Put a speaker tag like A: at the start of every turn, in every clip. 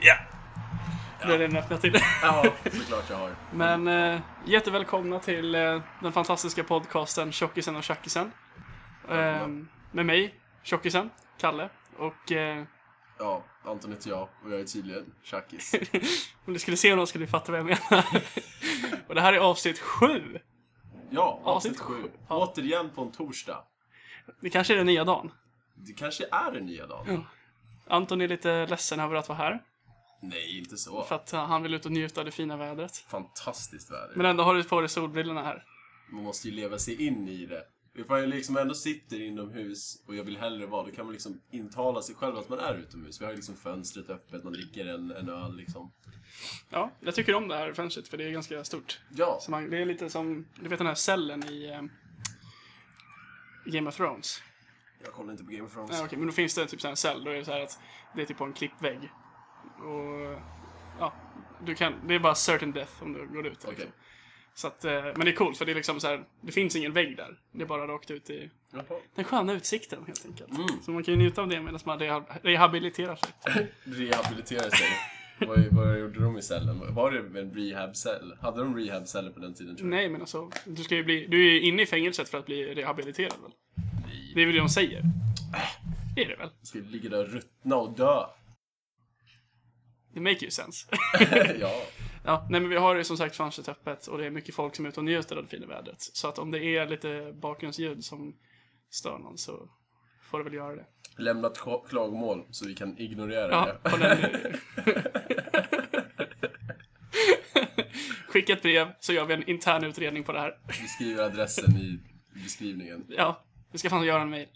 A: Ja.
B: Det är det enda jag till.
C: Ja, såklart jag har.
B: Men eh, jättevälkomna till eh, den fantastiska podcasten Tjockisen och Tjackisen. Eh, med mig, Tjockisen, Kalle. Och eh,
C: Ja, Anton heter jag och jag är tydligen tjackis.
B: om ni skulle se någon skulle ni fatta vad jag menar. och det här är avsnitt sju!
C: Ja, avsnitt
B: Avsnitt
C: sju.
B: Ja.
C: Återigen på en torsdag.
B: Det kanske är den nya dagen.
C: Det kanske är den nya dagen?
B: Anton är lite ledsen över att vara här.
C: Nej, inte så.
B: För att han vill ut och njuta av det fina vädret.
C: Fantastiskt väder.
B: Men ändå har du på dig solbrillorna här.
C: Man måste ju leva sig in i det. Ifall jag liksom ändå sitter inomhus och jag vill hellre vara, då kan man liksom intala sig själv att man är utomhus. Vi har ju liksom fönstret öppet, man dricker en, en öl liksom.
B: Ja, jag tycker om det här fönstret för det är ganska stort.
C: Ja,
B: Så man, det är lite som, du vet den här cellen i eh, Game of Thrones.
C: jag kollar inte på Game of Thrones.
B: Nej, okej, men då finns det typ så här en cell, då är det så här att det är typ på en klippvägg. Och ja, du kan, det är bara certain death om du går ut.
C: Okej.
B: liksom. Så att, eh, men det är coolt för det är liksom så här, det finns ingen vägg där. Det är bara rakt ut i
C: Jaha.
B: den sköna utsikten helt enkelt. Så man kan ju njuta av det medan man reha- rehabiliterar sig.
C: Rehabilitera sig. vad, vad gjorde de i cellen? Var det en rehabcell? Hade de rehabceller på den tiden tror jag?
B: Nej, men alltså, du ska ju bli, du är ju inne i fängelset för att bli rehabiliterad väl? Det är väl det de säger? Det är det väl?
C: Jag skulle ligga där och ruttna och dö.
B: Det make ju sense.
C: ja.
B: Ja, nej men vi har ju som sagt fönstret öppet och det är mycket folk som är ute och njuter av det fina vädret. Så att om det är lite bakgrundsljud som stör någon så får du väl göra det.
C: Lämnat kla- klagomål så vi kan ignorera
B: Ja,
C: det.
B: på den... Skicka ett brev så gör vi en intern utredning på det här.
C: Vi skriver adressen i beskrivningen.
B: Ja, vi ska fan göra en mail.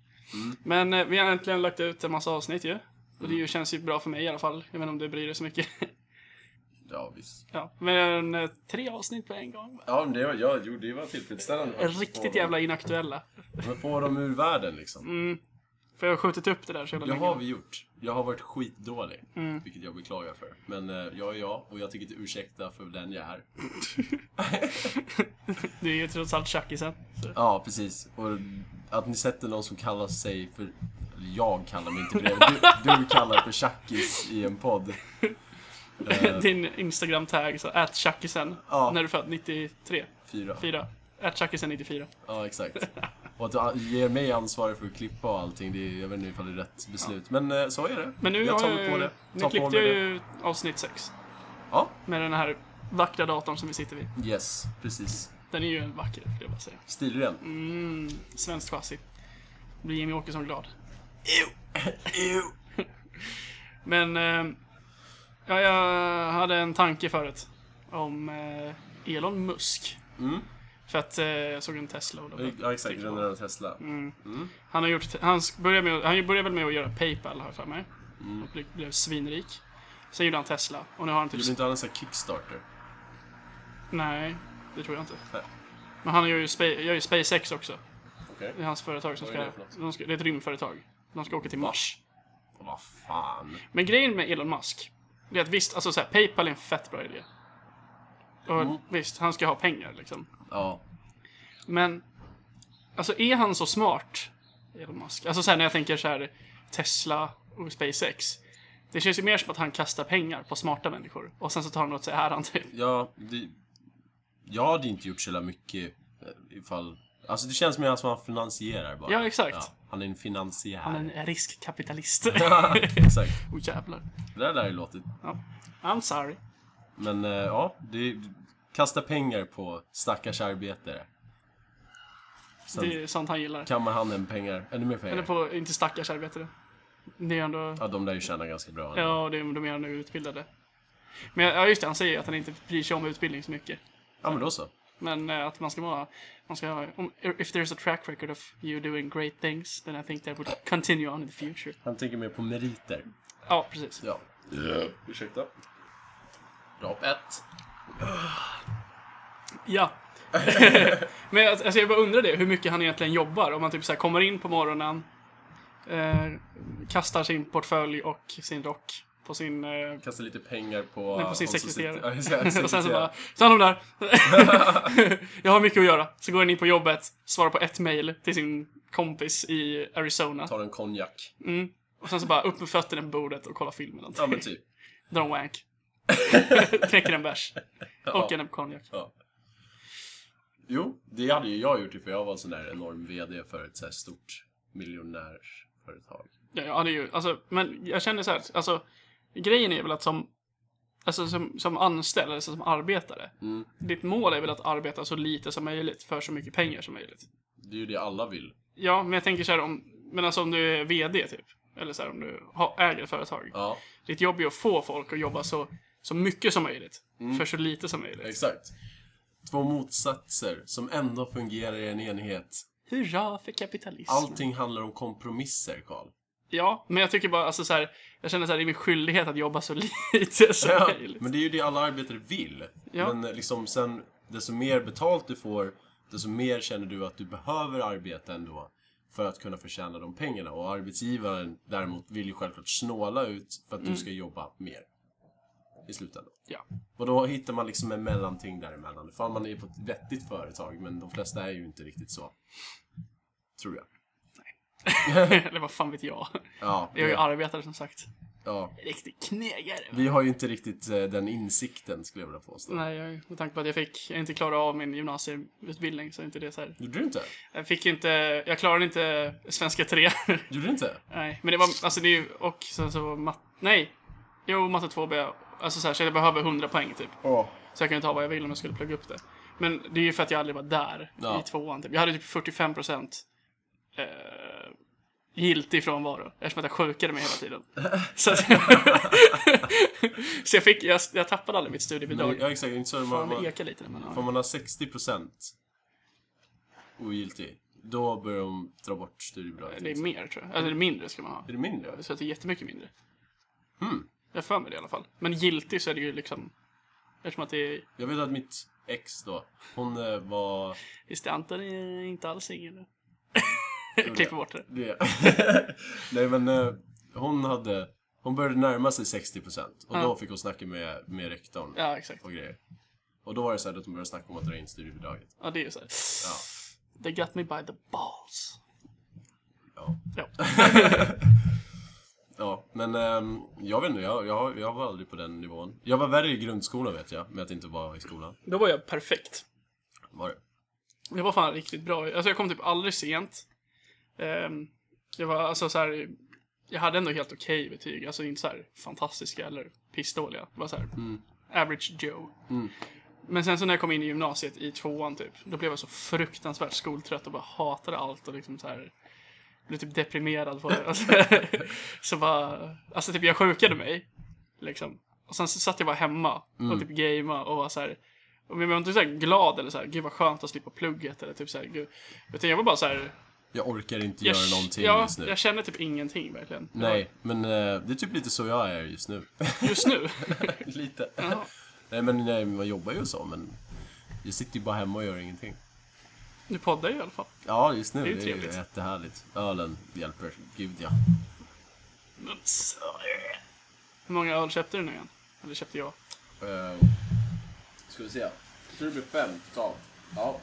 B: Men eh, vi har äntligen lagt ut en massa avsnitt ju. Och det ju känns ju bra för mig i alla fall. Jag vet inte om du bryr dig så mycket.
C: Ja, visst.
B: ja, men eh, tre avsnitt på en gång.
C: Ja, men det var, ja, jo, det var tillfredsställande faktiskt. Få
B: Riktigt
C: dem-
B: jävla Mm. inaktuella.
C: Men få dem ur världen liksom.
B: För jag har skjutit upp det där så jävla
C: Det har
B: länge.
C: vi gjort. Jag har varit skitdålig,
B: Mm.
C: vilket jag beklagar för. Men eh, jag är jag och jag tänker inte ursäkta för den jag är.
B: Du är ju trots allt tjackisen. Så.
C: Ja, precis. Och att ni sätter någon som kallar sig för... eller Jag kallar mig inte för det. Du, du kallar för tjackis i en podd. Eh,
B: Din Instagram-tag, så ät tjackisen.
C: Ja.
B: När du född 93?
C: fyra.
B: 4? Ät tjackisen 94.
C: Ja, exakt. Och att du a- ger mig ansvar för att klippa och allting, det är, jag vet inte ifall det är rätt beslut. Men eh, så är det.
B: Men nu
C: jag tar
B: har
C: mig
B: jag
C: på
B: ju...
C: det.
B: Nu
C: Tar på
B: klippte
C: mig
B: jag
C: det.
B: ju avsnitt 6.
C: Ja,
B: Med den här vackra datorn som vi sitter vid.
C: yes, precis.
B: Den är ju vacker, vill jag bara säga.
C: Stilren.
B: Mm, svenskt chassi. Blir Jimmy Åkesson glad.
C: Ew.
B: Men... Eh, ja, jag hade en tanke förut. Om eh, Elon Musk.
C: Mm.
B: För att eh, jag såg en Tesla och då
C: Ja, exakt. Den där Tesla.
B: Mm. Han har gjort... Han sk- började, med, han började väl med att göra Paypal, har jag för mig.
C: Mm.
B: Och blev, blev svinrik. Sen gjorde han Tesla. Och nu har han typ...
C: Gjorde inte han en sån här Kickstarter?
B: Nej, det tror jag inte.
C: Nej.
B: Men han gör ju, spa- gör ju SpaceX också.
C: Okej.
B: Det är hans företag som
C: Vad
B: ska,
C: är det för något?
B: de ska... Det är ett rymdföretag. De ska åka till Mars.
C: Vad fan.
B: Men grejen med Elon Musk, det är att visst, alltså så här, Paypal är en fett bra idé. Och
C: Mm.
B: visst, han ska ha pengar liksom.
C: Ja.
B: Men, alltså är han så smart, Elon Musk? Alltså så här, när jag tänker så här, Tesla och SpaceX. Det känns ju mer som att han kastar pengar på smarta människor. Och sen så tar han åt sig äran typ.
C: Ja, det, jag hade inte gjort så jävla mycket eh, ifall... Alltså det känns mer som att han finansierar bara.
B: Ja, exakt.
C: han är en finansiär.
B: Han är en riskkapitalist.
C: exakt.
B: Åh jävlar.
C: Det där lär ju låtit.
B: Ja. I'm sorry.
C: Men eh, ja, det, kasta pengar på stackars arbetare. Sen
B: Det är sånt han gillar.
C: kammar han en pengar, ännu mer pengar.
B: Eller på, inte stackars arbetare. Det är ändå...
C: Ja, de lär ju tjäna ganska bra.
B: Ja, och det, de är nu utbildade. Men ja, just det, han säger ju att han inte bryr sig om utbildning så mycket.
C: ja men då så.
B: Men eh, att man ska vara... Man ska ha... Om, if there's a track record of you doing great things, then I think that would continue on in the future.
C: Han tänker mer på meriter.
B: Ja, precis.
C: Ja. Ursäkta. Drop ett.
B: Ja. Men jag- alltså, jag bara undrar det, hur mycket han egentligen jobbar. Om man typ så här kommer in på morgonen, eh, kastar sin portfölj och sin rock på sin... Eh,
C: Kasta lite pengar på...
B: Nej, på sin
C: de som
B: sekreterare.
C: sitter- Ja, exakt,
B: och sen så
C: sekreterare.
B: bara, stanna de där! jag har mycket att göra. Så går han in på jobbet, svarar på ett mail till sin kompis i Arizona.
C: Tar en konjak.
B: Och sen så bara upp med fötterna på bordet och kolla filmen.
C: Ja men typ.
B: drar en wank. Knäcker en bärs. Och en konjak.
C: Ja. Jo, det hade ju jag gjort ifall jag var en sån där enorm VD för ett så här stort miljonärsföretag.
B: Ja, ja, det är ju, alltså, men jag känner så här, alltså, grejen är väl att som, alltså, som, som anställd, alltså, som arbetare,
C: Mm.
B: ditt mål är väl att arbeta så lite som möjligt för så mycket pengar som möjligt.
C: Det är ju det alla vill.
B: Ja, men jag tänker så här om, men alltså om du är VD typ, eller så här om du har, äger ett företag.
C: Ja,
B: Ditt jobb är att få folk att jobba så, så mycket som möjligt,
C: Mm.
B: för så lite som möjligt.
C: exakt. Två motsatser som ändå fungerar i en enhet.
B: Hurra för kapitalismen!
C: Allting handlar om kompromisser, Karl.
B: Ja, men jag tycker bara, alltså så här, jag känner så här, det är min skyldighet att jobba så lite som
C: Ja,
B: möjligt.
C: men det är ju det alla arbetare vill.
B: liksom. Ja.
C: Men liksom sen, desto mer betalt du får, desto mer känner du att du behöver arbeta ändå för att kunna förtjäna de pengarna. Och arbetsgivaren däremot vill ju självklart snåla ut för att
B: Mm.
C: du ska jobba mer. I slutändan.
B: Ja.
C: Och då hittar man liksom en mellanting däremellan. Fan, man är ju på ett vettigt företag, men de flesta är ju inte riktigt så. Tror jag.
B: eller vad fan vet jag?
C: Ja,
B: Jag är ju
C: det-
B: arbetare som sagt.
C: ja.
B: Riktig knegare.
C: Vi har ju inte riktigt eh, den insikten, skulle jag vilja påstå.
B: Nej, jag, med tanke på att jag fick, jag inte klarade av min gymnasieutbildning så är inte det så här.
C: Gjorde du inte?
B: Jag fick inte, jag klarade inte svenska 3.
C: Gjorde du inte?
B: nej, men det var, alltså det är ju, och sen så matte, nej. Jo, matte 2B. Alltså så här, så jag behöver 100 poäng typ.
C: Ja.
B: Så jag kunde ta vad jag ville om jag skulle plugga upp det. Men det är ju för att jag aldrig var där
C: Ja.
B: i tvåan typ. Jag hade typ 45 procent eh, giltig frånvaro eftersom att jag sjukade mig hela tiden. så, att, så jag fick, jag, jag tappade aldrig mitt studiebidrag.
C: Nej, ja, exakt. Inte så
B: Fan,
C: man,
B: det
C: man,
B: ekar lite när man
C: får
B: har...
C: man ha 60% ogiltig, då börjar de dra bort studiebidraget.
B: Det är mer tror jag. Eller mindre ska man ha.
C: Är det mindre?
B: Så att det är jättemycket mindre.
C: Mm. Hmm.
B: Jag har för mig det i alla fall. Men giltig så är det ju liksom... Eftersom att det är...
C: Jag vet att mitt ex då, hon eh, var...
B: Visst är Anton eh, inte alls singel?
C: det.
B: Klipper bort det.
C: Det. Nej men eh, hon hade... Hon började närma sig 60% och
B: Ja.
C: då fick hon snacka med, med rektorn
B: Ja, exakt.
C: och grejer. Och då var det så här att de började snacka om att dra in studiebidraget.
B: Ja, det är ju så här.
C: Ja.
B: They got me by the balls.
C: Ja.
B: Ja.
C: Ja, men ehm, jag vet inte, jag, jag, jag var aldrig på den nivån. Jag var värre i grundskolan vet jag, med att inte vara i skolan.
B: Då var jag perfekt.
C: Var det?
B: Jag var fan riktigt bra. Alltså jag kom typ aldrig sent. Ehm, jag var alltså så här. Jag hade ändå helt okej betyg. Alltså inte så här fantastiska eller pissdåliga. Det var så här average Joe. Men sen så när jag kom in i gymnasiet i tvåan typ. Då blev jag så fruktansvärt skoltrött och bara hatade allt och liksom så här. Blev typ deprimerad på det. Alltså, så bara. Alltså typ jag sjukade mig. Liksom. Och sen så satt jag bara hemma och typ gamea och var så här. Men jag var inte så här glad eller så här, gud vad skönt att slippa plugget eller typ så här, gud. Utan jag var bara så här,
C: Jag orkar inte
B: jag,
C: göra någonting
B: ja,
C: just nu.
B: jag känner typ ingenting verkligen.
C: Nej, men eh, det är typ lite så jag är just nu.
B: Just nu.
C: lite.
B: Ja.
C: Nej, men nej, man jobbar ju så, men jag sitter ju bara hemma och gör ingenting.
B: Du poddar ju i alla fall.
C: Ja, just nu.
B: Det är ju
C: det
B: trevligt.
C: är jättehärligt. Ölen hjälper. Gud ja.
B: Mums. Hur många öl köpte du nu igen? Eller köpte jag?
C: Uh, ska vi se. Jag tror det blir fem totalt. Ja.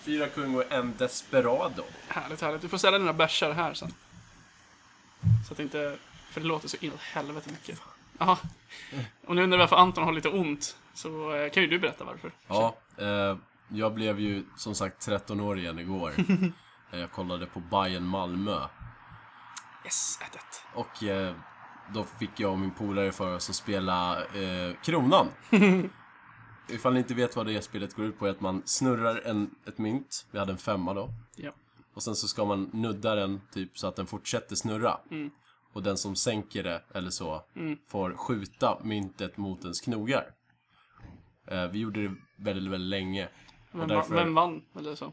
C: Fyra kung och en desperado.
B: Härligt, härligt. Du får sälja dina bärsar här sen. Så att det inte, för det låter så in åt helvete mycket. Jaha. Om ni undrar varför Anton har lite ont, så eh, kan ju du berätta varför.
C: Ja, eh, jag blev ju som sagt 13 år igen igår. Eh, jag kollade på Bayern Malmö.
B: Yes, 1-1.
C: Och eh, då fick jag och min polare för oss att spela eh, Kronan. Ifall ni inte vet vad det spelet går ut på är att man snurrar en, ett mynt, vi hade en femma då.
B: Ja.
C: Och sen så ska man nudda den typ så att den fortsätter snurra. Och den som sänker det eller så får skjuta myntet mot ens knogar. Eh, vi gjorde det väldigt, väldigt länge. Och
B: Vem,
C: därför-
B: va- vem vann? Eller så.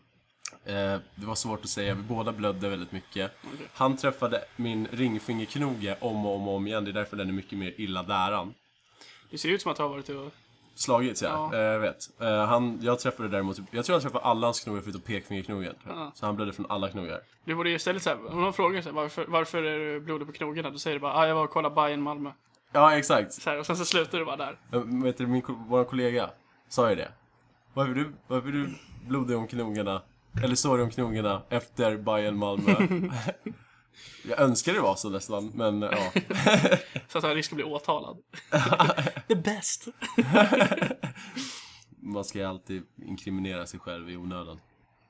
C: Eh, det var svårt att säga, vi båda blödde väldigt mycket. Han träffade min ringfingerknoge om och om och om igen, det är därför den är mycket mer illa däran.
B: Det ser ut som att du har varit och...
C: Slagits ja,
B: Ja.
C: Eh, jag vet. Eh, han, jag träffade däremot, typ- jag tror jag träffade alla hans knogar förutom pekfingerknogen. tror jag.
B: Ja.
C: Så han blödde från alla knogar.
B: Du borde ju istället såhär, om någon frågar såhär, varför, varför är du blodig på knogarna? Då säger du bara, ah, jag var och kollade Bayern Malmö.
C: Ja, exakt.
B: Så här, och sen så slutar du bara där.
C: Eh, Vet du, min, ko- vår kollega sa ju det. Varför du, varför du blodig om knogarna, eller sorry om knogarna, efter Bayern Malmö? Jag önskar det var så nästan, men ja.
B: Så att han riskerar att bli åtalad. The best!
C: Man ska ju alltid inkriminera sig själv i onödan.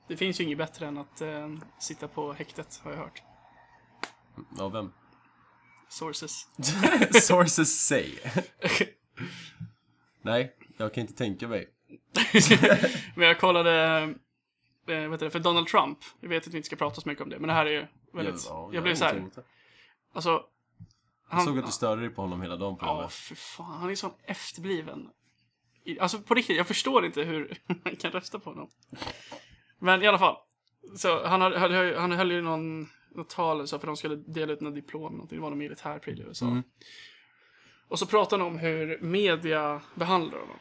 B: Det finns ju inget bättre än att eh, sitta på häktet, har jag hört.
C: Av vem?
B: Sources.
C: Sources say. Nej, jag kan inte tänka mig.
B: men jag kollade, eh, vad heter det, för Donald Trump. Jag vet att vi inte ska prata så mycket om det, men det här är ju väldigt...
C: Ja,
B: jag,
C: har
B: blev så
C: inget
B: här,
C: emot det.
B: alltså... Han,
C: Jag såg att du störde dig på honom hela dagen på
B: Ja,
C: jobbet.
B: för fan. Han är sån efterbliven. I- Alltså på riktigt, jag förstår inte hur man kan rösta på honom. Men i alla fall. Så han, har- höll, höll- han höll ju någon, något tal så för de skulle dela ut några diplom, någonting. det var någon militärpryl i USA.
C: Mm.
B: Och så pratade han om hur media behandlar honom.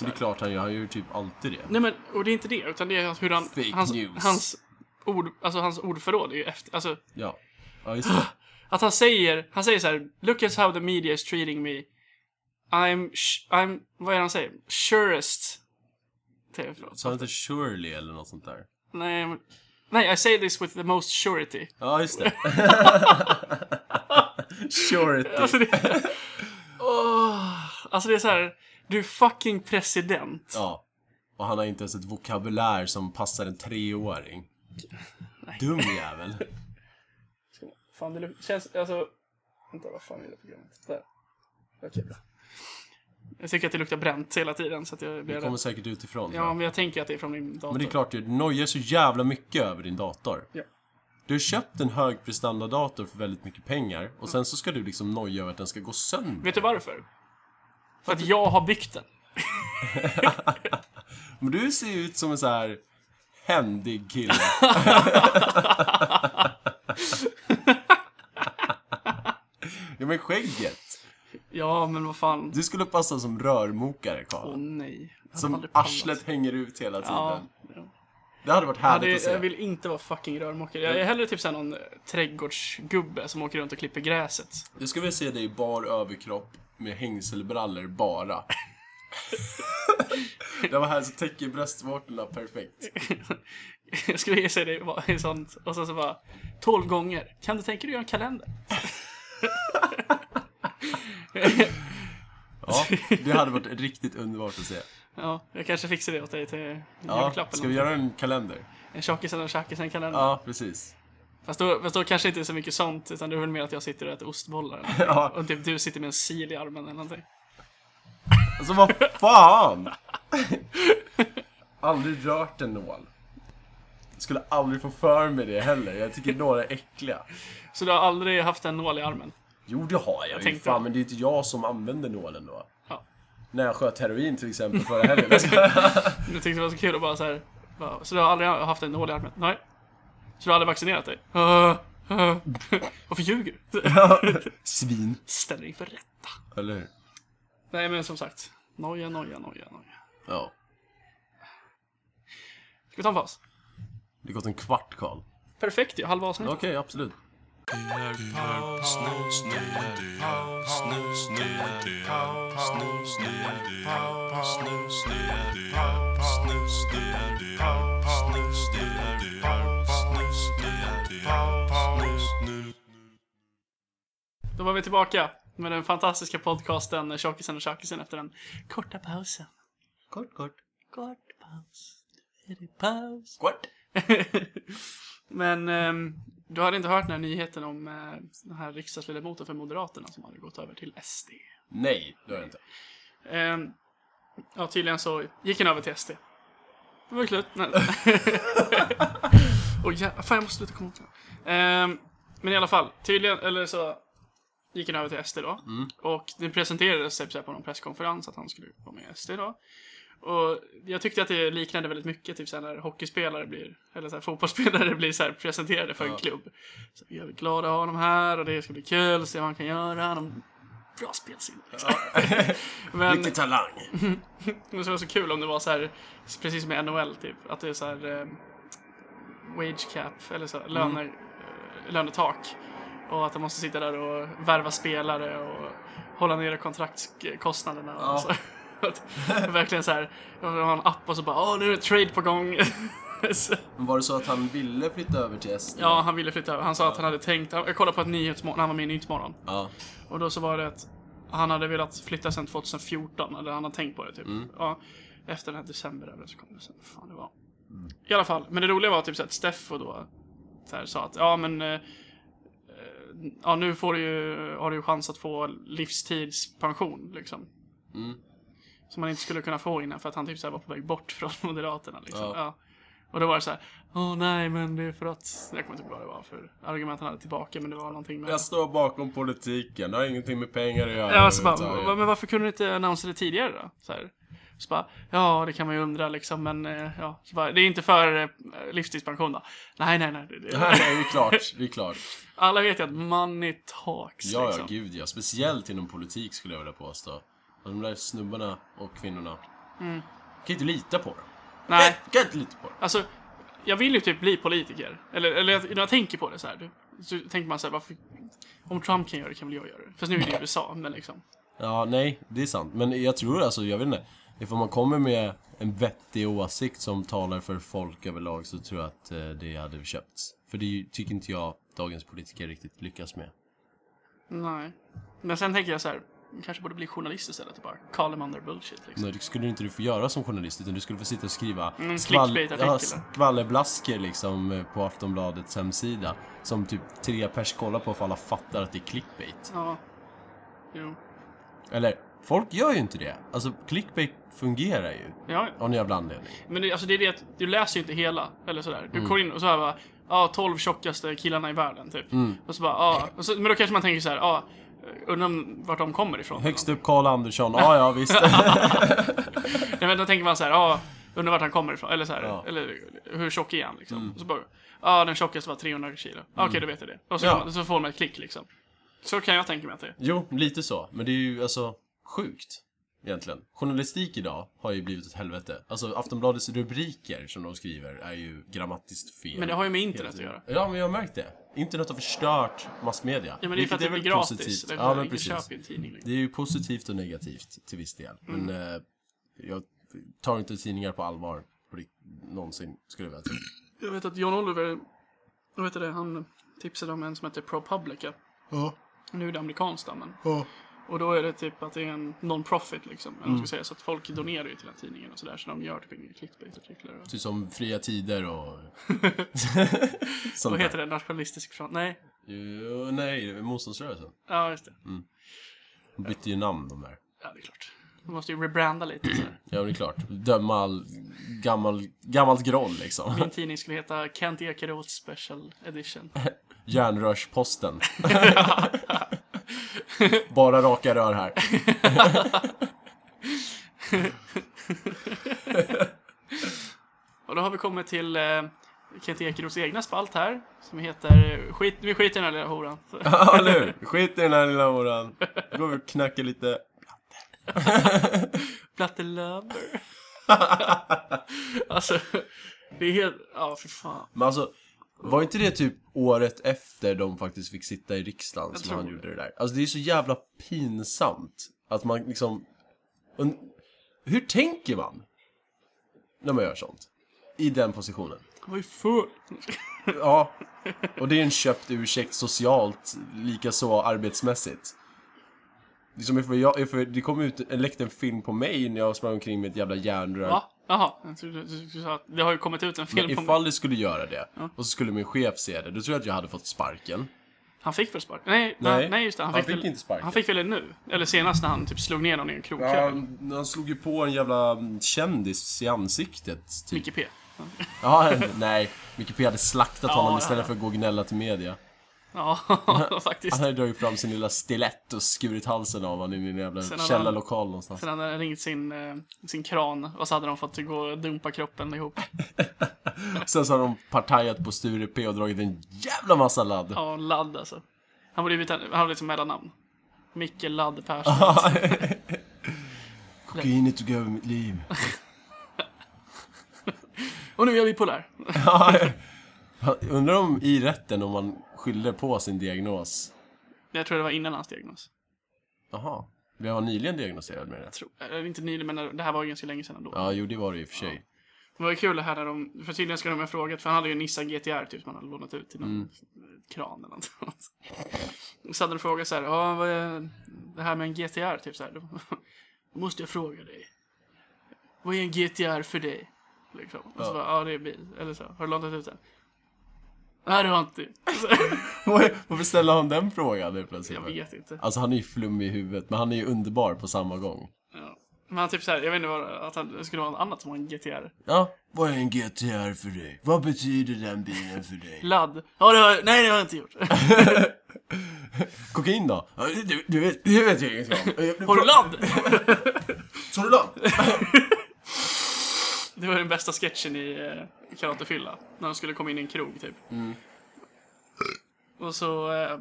C: Det är klart han gör, han gör ju typ alltid det.
B: Nej men, och det är inte det, utan det är hur han...
C: Fake
B: hans,
C: news.
B: Hans, ord, alltså, hans ordförråd är ju efter... Alltså,
C: Ja, ja just det.
B: Att han säger, han säger så här, look at how the media is treating me. I'm, sh- I'm, vad är det han säger? Surest. Säger jag, förlåt.
C: Sa han inte Shirley eller något sånt där?
B: Nej, men- nej, I say this with the most surety.
C: Ja, just det. Surety.
B: Alltså det, Åh, alltså det är så här, du är fucking president.
C: Ja. Och han har inte ens ett vokabulär som passar en treåring. Dum jävel.
B: Fan, det lu- känns, alltså, vänta, vad fan är det programmet? Där. Okej, bra. Jag tycker att det luktar bränt hela tiden, så att jag
C: Det
B: blir
C: kommer
B: rädd.
C: säkert utifrån.
B: Ja, men jag tänker att det är från min dator.
C: Men det är klart, du nojar så jävla mycket över din dator.
B: Ja.
C: Du har köpt en högprestandadator för väldigt mycket pengar och sen så ska du liksom noja över att den ska gå sönder.
B: Vet du varför? För att jag har byggt den.
C: Men du ser ju ut som en så här händig kille. ja men skägget.
B: Ja, men vad fan.
C: Du skulle passa som rörmokare, Karl.
B: Åh nej. Jag hade
C: Som
B: aldrig pallat.
C: arslet hänger ut hela tiden.
B: Ja.
C: Det hade varit
B: Jag,
C: härligt
B: hade,
C: att se.
B: jag vill inte vara fucking rörmokare. Jag är hellre typ såhär någon eh, trädgårdsgubbe som åker runt och klipper gräset.
C: Jag skulle vilja se dig i bar överkropp med hängselbrallor bara. det var här så täcker bröstvårtorna perfekt.
B: jag skulle ge sig det va- i sånt. Och sen så bara, 12 gånger. Kan du tänka dig att göra en kalender?
C: Ja, det hade varit riktigt underbart att se.
B: Ja, jag kanske fixar det åt dig till din
C: Ja,
B: julklapp
C: ska
B: eller
C: vi
B: något.
C: göra en kalender?
B: En tjockisen och en tjackisen kalender.
C: Ja, precis.
B: Fast, då, fast då kanske inte är så mycket sånt, utan det är väl mer att jag sitter och äter ostbollar. eller någonting.
C: Ja,
B: Och typ du sitter med en sil i armen eller någonting.
C: alltså vad fan! aldrig rört en nål. Jag skulle aldrig få för mig det heller. Jag tycker nålar är äckliga.
B: Så du har aldrig haft en nål i armen?
C: Jo, det har jag, ju.
B: tänkte-
C: Fan, men det är inte jag som använder nålen då.
B: Ja.
C: När jag sköt heroin till exempel förra helgen.
B: Jag tyckte det var så kul att bara så här. Bara, så du har aldrig haft en nål i armen? Nej. Så du har aldrig vaccinerat dig? Uh, uh. Varför ljuger du?
C: Svin.
B: Ställ dig inför rätta.
C: Eller hur?
B: Nej men som sagt. Noja, noja, noja, noja.
C: Ja.
B: Ska vi ta en paus?
C: Det har gått en kvart, Karl.
B: Perfekt ju, halva
C: Okej,
B: avsnittet.
C: absolut.
B: Då var vi tillbaka med den fantastiska podcasten Tjockisen och Tjackisen efter den korta pausen.
C: Kort, kort.
B: Kort paus. Nu är det paus.
C: Kort.
B: men ehm, du hade inte hört den här nyheten om eh, den här riksdagsledamoten för Moderaterna som hade gått över till SD.
C: Nej, det har jag inte.
B: Ehm, ja, tydligen så gick han över till SD. Det var ju slut. Nej. Oj, jä- fan jag måste sluta komma ihåg det här. Ehm, Men i alla fall, tydligen, eller så gick han över till SD då. Och det presenterades typ så här på någon presskonferens att han skulle vara med i SD då. Och jag tyckte att det liknade väldigt mycket typ så här när hockeyspelare blir, eller så här, fotbollsspelare blir så här presenterade för en
C: Ja.
B: klubb. Så vi är glada att ha honom här och det ska bli kul, se vad han kan göra. De... Bra spelsinne. liksom. Men-
C: Mycket talang.
B: det skulle vara så kul om det var så här, precis som i NHL typ, att det är så här eh, wage cap, eller så här, löner, eh, lönetak. Och att de måste sitta där och värva spelare och hålla nere kontraktskostnaderna. Och
C: Ja.
B: så. Att, verkligen så här, de har en app och så bara åh nu är det trade på gång. Så-
C: Men var det så att han ville flytta över till SD?
B: ja, han ville flytta över. Han sa att han hade tänkt... Jag kollade på ett nyhetsmorgon, han var med i Nyhetsmorgon.
C: Ja.
B: Och då så var det att han hade velat flytta sedan 2014, eller han hade tänkt på det typ.
C: Mm.
B: Ja, efter den här decemberöverenskommelsen. Vad Fan det var.
C: Mm.
B: I alla fall, men det roliga var typ så att Steffo då så här, sa att ja men eh, eh, Ja nu får du ju, har du ju chans att få livstidspension liksom.
C: Mm.
B: Som man inte skulle kunna få innan för att han typ så här var på väg bort från Moderaterna liksom.
C: Ja.
B: Ja. Och då var det så här, åh nej men det är för att, jag kommer inte ihåg vad det var för argument han hade tillbaka men det var någonting med...
C: Jag står bakom politiken, det har ingenting med pengar att göra
B: Ja, alltså bara,
C: överhuvudtaget.
B: "Va- men varför kunde du inte annonsera det tidigare då? Så, här. så bara, ja det kan man ju undra liksom, men eh, ja. Så bara, det är inte för eh, livstidspension då? Nej, nej, nej. Det,
C: Det
B: det.
C: här är ju klart, det är klart.
B: Alla vet ju att money talks
C: Ja, ja,
B: liksom.
C: gud ja. Speciellt inom politik skulle jag vilja påstå. Och de där snubbarna och kvinnorna. Kan inte lita på dem.
B: Mm. Nej.
C: Kan, kan inte lita på dem.
B: Alltså, jag vill ju typ bli politiker. Eller, eller jag- när jag tänker på det så här, du- så tänker man så här, varför, om Trump kan göra det kan väl jag göra det? Fast nu är det ju USA, men liksom.
C: Ja, nej, det är sant. Men jag tror alltså, jag vet inte. Ifall man kommer med en vettig åsikt som talar för folk överlag så tror jag att eh, det hade köpts. För det är ju- tycker inte jag dagens politiker riktigt lyckas med.
B: Nej. Men sen tänker jag så här, jag kanske borde bli journalist istället och bara call them on their bullshit liksom.
C: Nej, det skulle inte du få göra som journalist utan du skulle få sitta och skriva
B: Mm, clickbait-artikel.
C: ja, skvallerblasker liksom eh, på Aftonbladets hemsida. Som typ tre pers kollar på för alla fattar att det är clickbait.
B: Ja. Jo.
C: Eller, folk gör ju inte det. Alltså clickbait fungerar ju.
B: Ja, ja.
C: Av en jävla anledning.
B: Men det, alltså det är det att du läser ju inte hela, eller sådär.
C: Mm.
B: Du går in och så här bara, ja, 12 tjockaste killarna i världen, typ.
C: Mm.
B: Och så bara, ja. Och så, men då kanske man tänker så här, ja, undrar om vart de kommer ifrån.
C: Högst upp Karl Andersson, ja ja visst.
B: Nej, men då tänker man så här, ja, undrar vart han kommer ifrån, eller så här,
C: Ja. Mm.
B: eller hur tjock är han liksom? Och så bara, ja, den tjockaste var 300 kilo. Ja, Okej, då vet jag det. Och så,
C: Ja.
B: kan man, så får man ett klick liksom. Så kan jag tänka mig att det är.
C: jo, lite så. Men det är ju alltså sjukt. Egentligen. Journalistik idag har ju blivit ett helvete. Alltså Aftonbladets rubriker som de skriver är ju grammatiskt fel.
B: Men det har ju med internet att göra.
C: Ja, men jag har märkt det. Internet har förstört massmedia.
B: Ja, men det är för att det blir gratis. Det är
C: Ja, men
B: ingen
C: precis.
B: köper ju en tidning längre.
C: Det är ju positivt och negativt till viss del.
B: Mm.
C: Men eh, jag tar inte tidningar på allvar. på rikt- Någonsin, skulle jag vilja säga.
B: Jag vet att John Oliver, jag vet det, han tipsade om en som heter ProPublica.
C: Ja,
B: Nu är det amerikanskt då, men.
C: ja.
B: Och då är det typ att det är en non-profit liksom. Eller mm. ska säga, så att folk donerar ju till den tidningen och sådär. Så de gör typ inga clickbait-artiklar. Och...
C: Typ som Fria Tider och... Sånt
B: Vad
C: där.
B: heter det? Nationalistisk front? Nej.
C: Jo, nej, Motståndsrörelsen.
B: Ja, just det.
C: De bytte ju namn de där.
B: Ja, det är klart. De måste ju rebranda lite så här.
C: Ja, det är klart. Döma all gammal, gammalt groll liksom.
B: Min tidning skulle heta Kent Ekeroth Special Edition.
C: Järnrörsposten. Bara raka rör här.
B: Och då har vi kommit till eh, Kent Ekeroths egna spalt här. Som heter eh, skit, Vi skiter i den här lilla horan. Så-
C: Ja, eller hur? Skit i den här lilla horan. Nu går vi och knackar lite.
B: Platte Lover. alltså, det är helt... Ja, för fan.
C: Men alltså, var inte det typ året efter de faktiskt fick sitta i riksdagen som
B: tror
C: han
B: det.
C: gjorde det där? Alltså det är så jävla pinsamt att man liksom... Und- Hur tänker man? När man gör sånt? I den positionen.
B: Vad är full?
C: Ja. Och det är en köpt ursäkt socialt, likaså arbetsmässigt. Det, är som ifall jag, ifall det kom ut en, läckte en film på mig när jag sprang omkring med ett jävla järnrör
B: Va? Jaha, jag trodde du du sa att det har ju kommit ut en film på mig.
C: Ifall det skulle göra det, och så skulle min chef se det, då tror jag att jag hade fått sparken.
B: Han fick väl sparken? Nej,
C: Nej.
B: nej. nej just det. Han,
C: Han
B: fick
C: fick
B: väl,
C: inte sparken.
B: Han fick väl det nu? Eller senast när han typ slog ner någon i en krogkö.
C: Han, han slog ju på en jävla mm, kändis i ansiktet, typ.
B: Micke P.
C: Ja, nej. Micke P hade slaktat honom
B: ja,
C: istället
B: ja.
C: för att gå och gnälla till media.
B: Ja, faktiskt.
C: Han hade dragit fram sin lilla stilett och skurit halsen av honom i en jävla
B: Sen hade
C: källarlokal någonstans.
B: Sen hade han ringt sin, eh, sin kran och så hade de fått gå och dumpa kroppen ihop.
C: Sen så har de partajat på Sture P och dragit en jävla massa ladd.
B: Ja, ladd alltså. Han borde ju byta, han hade liksom mellannamn. Micke Ladd Persson.
C: Kokainet tog över mitt liv.
B: Och nu är jag bipolär.
C: Undrar om i rätten om man skyllde på sin diagnos.
B: Jag tror det var innan hans diagnos.
C: Jaha. Vi var nyligen diagnoserad med det.
B: eh, Jag tror, eller inte nyligen, men det här var ju ganska länge sedan då.
C: Ja, jo det var det i och för sig.
B: Det var ju kul det här när de, för tydligen ska de ha frågat, för han hade ju en Nissan GTR typ som han hade lånat ut till någon kran eller något sånt. Och så hade de frågat så här, ja vad är det här med en GTR typ så här. Då måste jag fråga dig. Vad är en GTR för dig? Liksom. Och så
C: Ja.
B: bara, ja det är en bil. Eller så, har du lånat ut den? Nej det har jag inte. Så,
C: Varför ställer han den frågan nu plötsligt?
B: jag vet inte.
C: Alltså han är ju flummig i huvudet, men han är ju underbar på samma gång.
B: Ja. Men han typ så här, jag vet inte vad, att han skulle ha något annat som var en GTR.
C: Ja. Vad är en GTR för dig? Vad betyder den bilen för dig?
B: Ladd. Ja det har jag, nej det har jag inte gjort.
C: Kokain då? Ja, Du, du vet, det vet jag inget om.
B: Har du ladd?
C: Har du ladd?
B: Det var den bästa sketchen i eh, Karatefylla. När de skulle komma in i en krog, typ. Och så... Eh,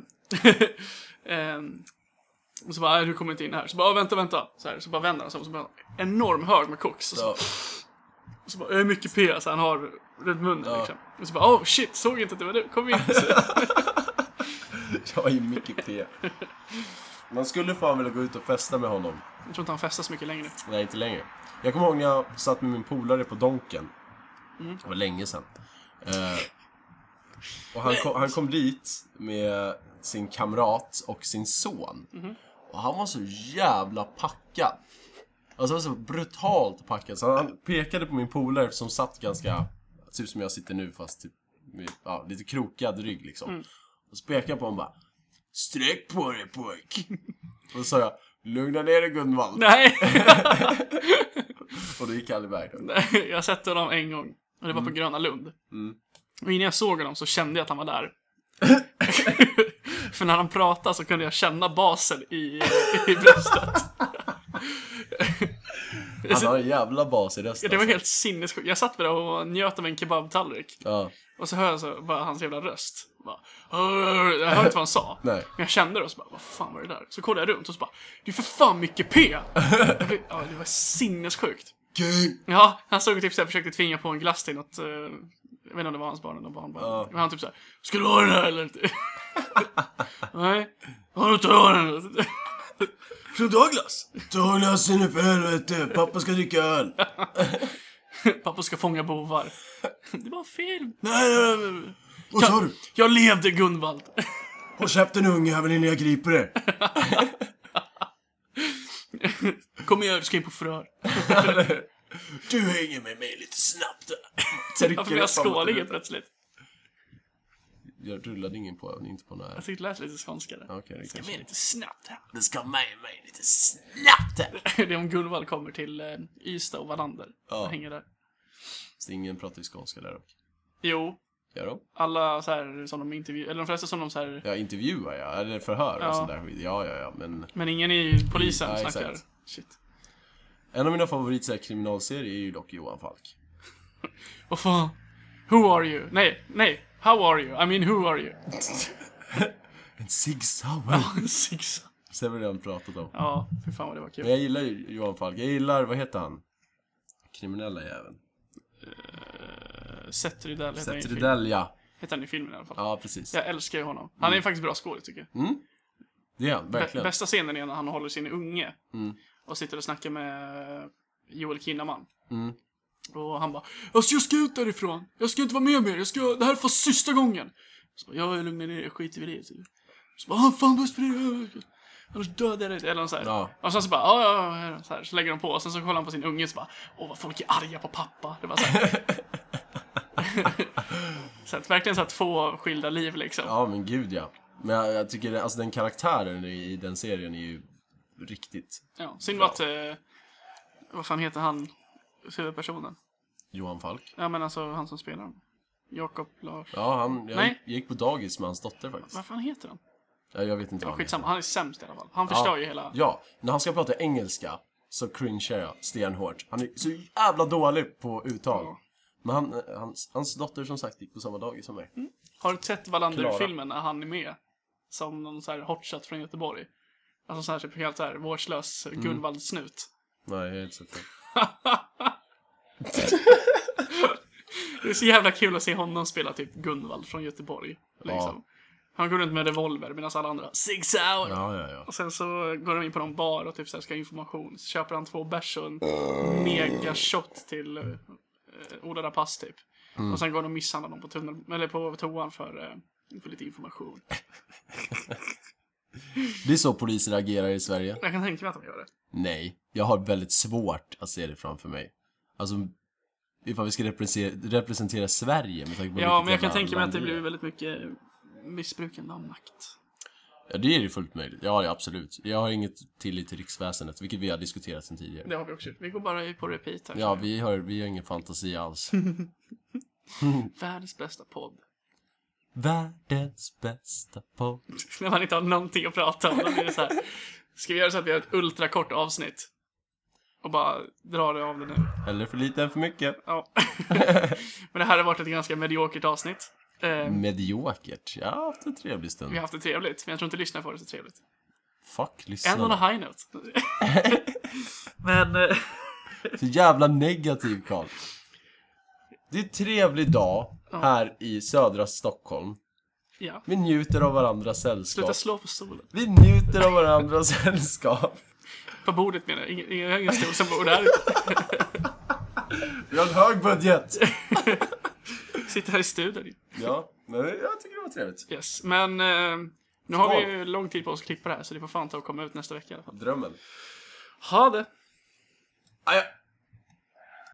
B: ehm, och så bara, "Nej, du kommer inte in här. Så bara, "Ah, vänta, vänta. Så, här, så bara vänder han sig om. Så bara, enorm hög med koks. Och så,
C: Ja.
B: och så bara, "Jag är mycket P så han har runt munnen
C: Ja.
B: liksom. Och så bara, oh shit, såg inte att det var du. Kom in. Så,
C: Jag är ju mycket P. Man skulle fan vilja gå ut och festa med honom.
B: jag tror inte han festar så mycket längre.
C: Nej, inte längre. Jag kommer ihåg när jag satt med min polare på Donken. Det var länge sedan. Eh, och han kom, han kom dit med sin kamrat och sin son. Och han var så jävla packad. Alltså han var så brutalt packad. Så han pekade på min polare som satt ganska, typ som jag sitter nu fast typ med, ja, lite krokad rygg liksom. Och så pekade han på honom och bara Sträck på dig pojk! och så sa jag Lugna ner dig Gunvald!
B: Nej!
C: Och då gick han iväg då.
B: Nej, jag har sett honom en gång. Och det var på Gröna Lund. Och innan jag såg honom så kände jag att han var där. För när han pratade så kunde jag känna basen i, i bröstet.
C: Han har en jävla bas i rösten.
B: Det var
C: alltså.
B: helt sinnessjukt. Jag satt med det och njöt av en kebabtallrik.
C: Ja,
B: Och så hör jag så bara hans jävla röst. Bara, "Arr", jag hörde inte vad han sa.
C: Nej.
B: Men jag kände det och så bara, vad fan var det där? Så kollade jag runt och så bara, det är för fan mycket P! Jag blev- ja, det var sinnessjukt.
C: King!
B: Ja, han stod och typ såhär, försökte tvinga på en glass till något, eh, jag vet inte om det var hans barn eller barnbarn.
C: Ja.
B: Men han typ såhär, ska du ha den här eller inte? Nej, har du inte ha den?
C: Från Douglas! Ta glassen nu för helvete! Pappa ska dricka öl!
B: Pappa ska fånga bovar. det var fel.
C: Nej, nej, nej, nej. Vad sa du?
B: Jag levde Gunvald.
C: Håll käften ungjävel innan jag griper dig!
B: Kom igen, du ska in på förhör.
C: Du hänger med mig lite snabbt där!
B: Varför blev jag skålig plötsligt?
C: Jag rullade ingen på, inte på några här.
B: Jag tyckte det lät lite skånska där.
C: Ja, Okej, det
B: Kom igen
C: kanske...
B: lite snabbt här.
C: Du ska med mig lite snabbt här!
B: det är om Gunvald kommer till eh, Ystad och Wallander.
C: Ja.
B: Och hänger där.
C: Så ingen pratar ju skånska där dock.
B: Jo,
C: Gör de?
B: alla så här som de intervjuar, eller de flesta som de så här
C: Ja, intervjuar jag, eller förhör
B: Ja.
C: och sådär skit. Ja, ja, ja, men...
B: Men ingen i polisen
C: Mm, Ja,
B: snackar.
C: exakt.
B: Shit.
C: En av mina favorit så här, kriminalserier är ju dock Johan Falk.
B: Vad fan? Who are you? Nej, nej. How are you? I mean, who are you?
C: En Sig Sauer!
B: Sixa.
C: Sen har vi redan pratat om.
B: Ja, för fan vad det var
C: Men
B: kul.
C: jag gillar ju Johan Falk. Jag gillar, vad heter han? Kriminella jäveln.
B: Seth Rydell heter, han i
C: Seth
B: film-
C: Rydell, ja.
B: heter han i filmen i alla fall.
C: Ja, Mm. precis.
B: Jag älskar ju honom. Han är ju faktiskt bra skådis tycker jag.
C: Det är han,
B: Bä-
C: verkligen.
B: Bästa scenen är när han håller sin unge och sitter och snackar med Joel Kinnaman.
C: Mm.
B: Och han bara alltså, jag ska ut därifrån! Jag ska inte vara med mer! Jag ska... Det här är för sista gången! Så bara, jag lugnar ner er, jag skiter i det. typ. Så bara, "Ah, fan buss för det! Annars dödar jag dig! Eller nåt sånt
C: Ja.
B: Och sen så bara, ja, ja, ja, ja, så, här, så lägger de på och sen så kollar han på sin unge och så bara, åh vad folk är arga på pappa. Det var så här. så att, verkligen så här två skilda liv liksom.
C: Ja, men gud ja. Men jag, jag tycker, alltså den karaktären i, i den serien är ju riktigt
B: Ja, synd var att... Eh, vad fan heter han? Huvudpersonen?
C: Johan Falk.
B: Ja men alltså han som spelar honom. Jakob Lars...
C: Ja, han, jag
B: Nej.
C: gick på dagis med hans dotter faktiskt.
B: Vad fan heter han?
C: Ja, jag vet inte vad han heter.
B: Skitsamma, han är sämst i alla fall. Han förstör ju hela...
C: Ja, när han ska prata engelska så cringear jag stenhårt. Han är så jävla dålig på uttal.
B: Ja.
C: Men han, hans, hans dotter som sagt gick på samma dagis som mig.
B: Har du sett Wallander-filmen när han är med? Som någon så här hotshot från Göteborg. Alltså så här typ helt så här vårdslös
C: Mm.
B: Gunvald-snut.
C: Nej, jag har inte sett det.
B: Det är så jävla kul att se honom spela typ Gunvald från Göteborg. Liksom. Han går runt med revolver medan alla andra Six hour!
C: Ja, ja, ja.
B: Och sen så går de in på någon
C: Mm.
B: bar och typ så här ska ha information. Så köper han två bärs och en mega shot till eh, eh, odlade pass typ.
C: Mm.
B: Och sen går de och misshandlar dem på, tunnel, eller på toan för, eh, för lite information.
C: Det är så poliser agerar i Sverige.
B: Jag kan tänka mig att de gör det.
C: Nej, jag har väldigt svårt att se det framför mig. Alltså, ifall vi ska representera, representera Sverige med tanke på
B: Ja,
C: vilket
B: men jag kan
C: jävla
B: tänka mig att
C: land
B: det
C: är.
B: blir väldigt mycket missbrukande av makt.
C: Ja, det är ju fullt möjligt. Ja, ja, absolut. Jag har inget tillit till riksväsendet, vilket vi har diskuterat sen tidigare.
B: Det har vi också gjort. Vi går bara på repeat här.
C: Ja, vi har, vi har ingen fantasi alls.
B: Världens bästa podd.
C: Världens bästa podd.
B: När man inte har någonting att prata om. Då blir det så här. Ska vi göra så att vi gör ett ultrakort avsnitt? Och bara dra det av det nu.
C: Eller för lite än för mycket.
B: Ja. Men det här har varit ett ganska mediokert avsnitt. Eh,
C: Mediokert. Jag har haft en trevlig stund.
B: vi har haft det trevligt, men jag tror inte lyssnarna får det så trevligt.
C: Fuck,
B: En on
C: lyssna.
B: a high note. men... eh,
C: Så jävla negativ, Karl. Det är en trevlig dag här i södra Stockholm.
B: Ja.
C: Vi njuter av varandras sällskap.
B: Sluta slå på stolen.
C: Vi njuter av varandras sällskap.
B: På bordet menar jag. Ingen, ingen, ingen stol som bor där.
C: Vi har en hög budget.
B: Sitter här i studion.
C: Ja, men jag tycker det var trevligt.
B: Yes, men eh, nu har
C: Skål.
B: vi ju lång tid på oss att klippa det här så det får fan ta och komma ut nästa vecka i alla fall.
C: Drömmen.
B: Ha det!
C: Ah, ja.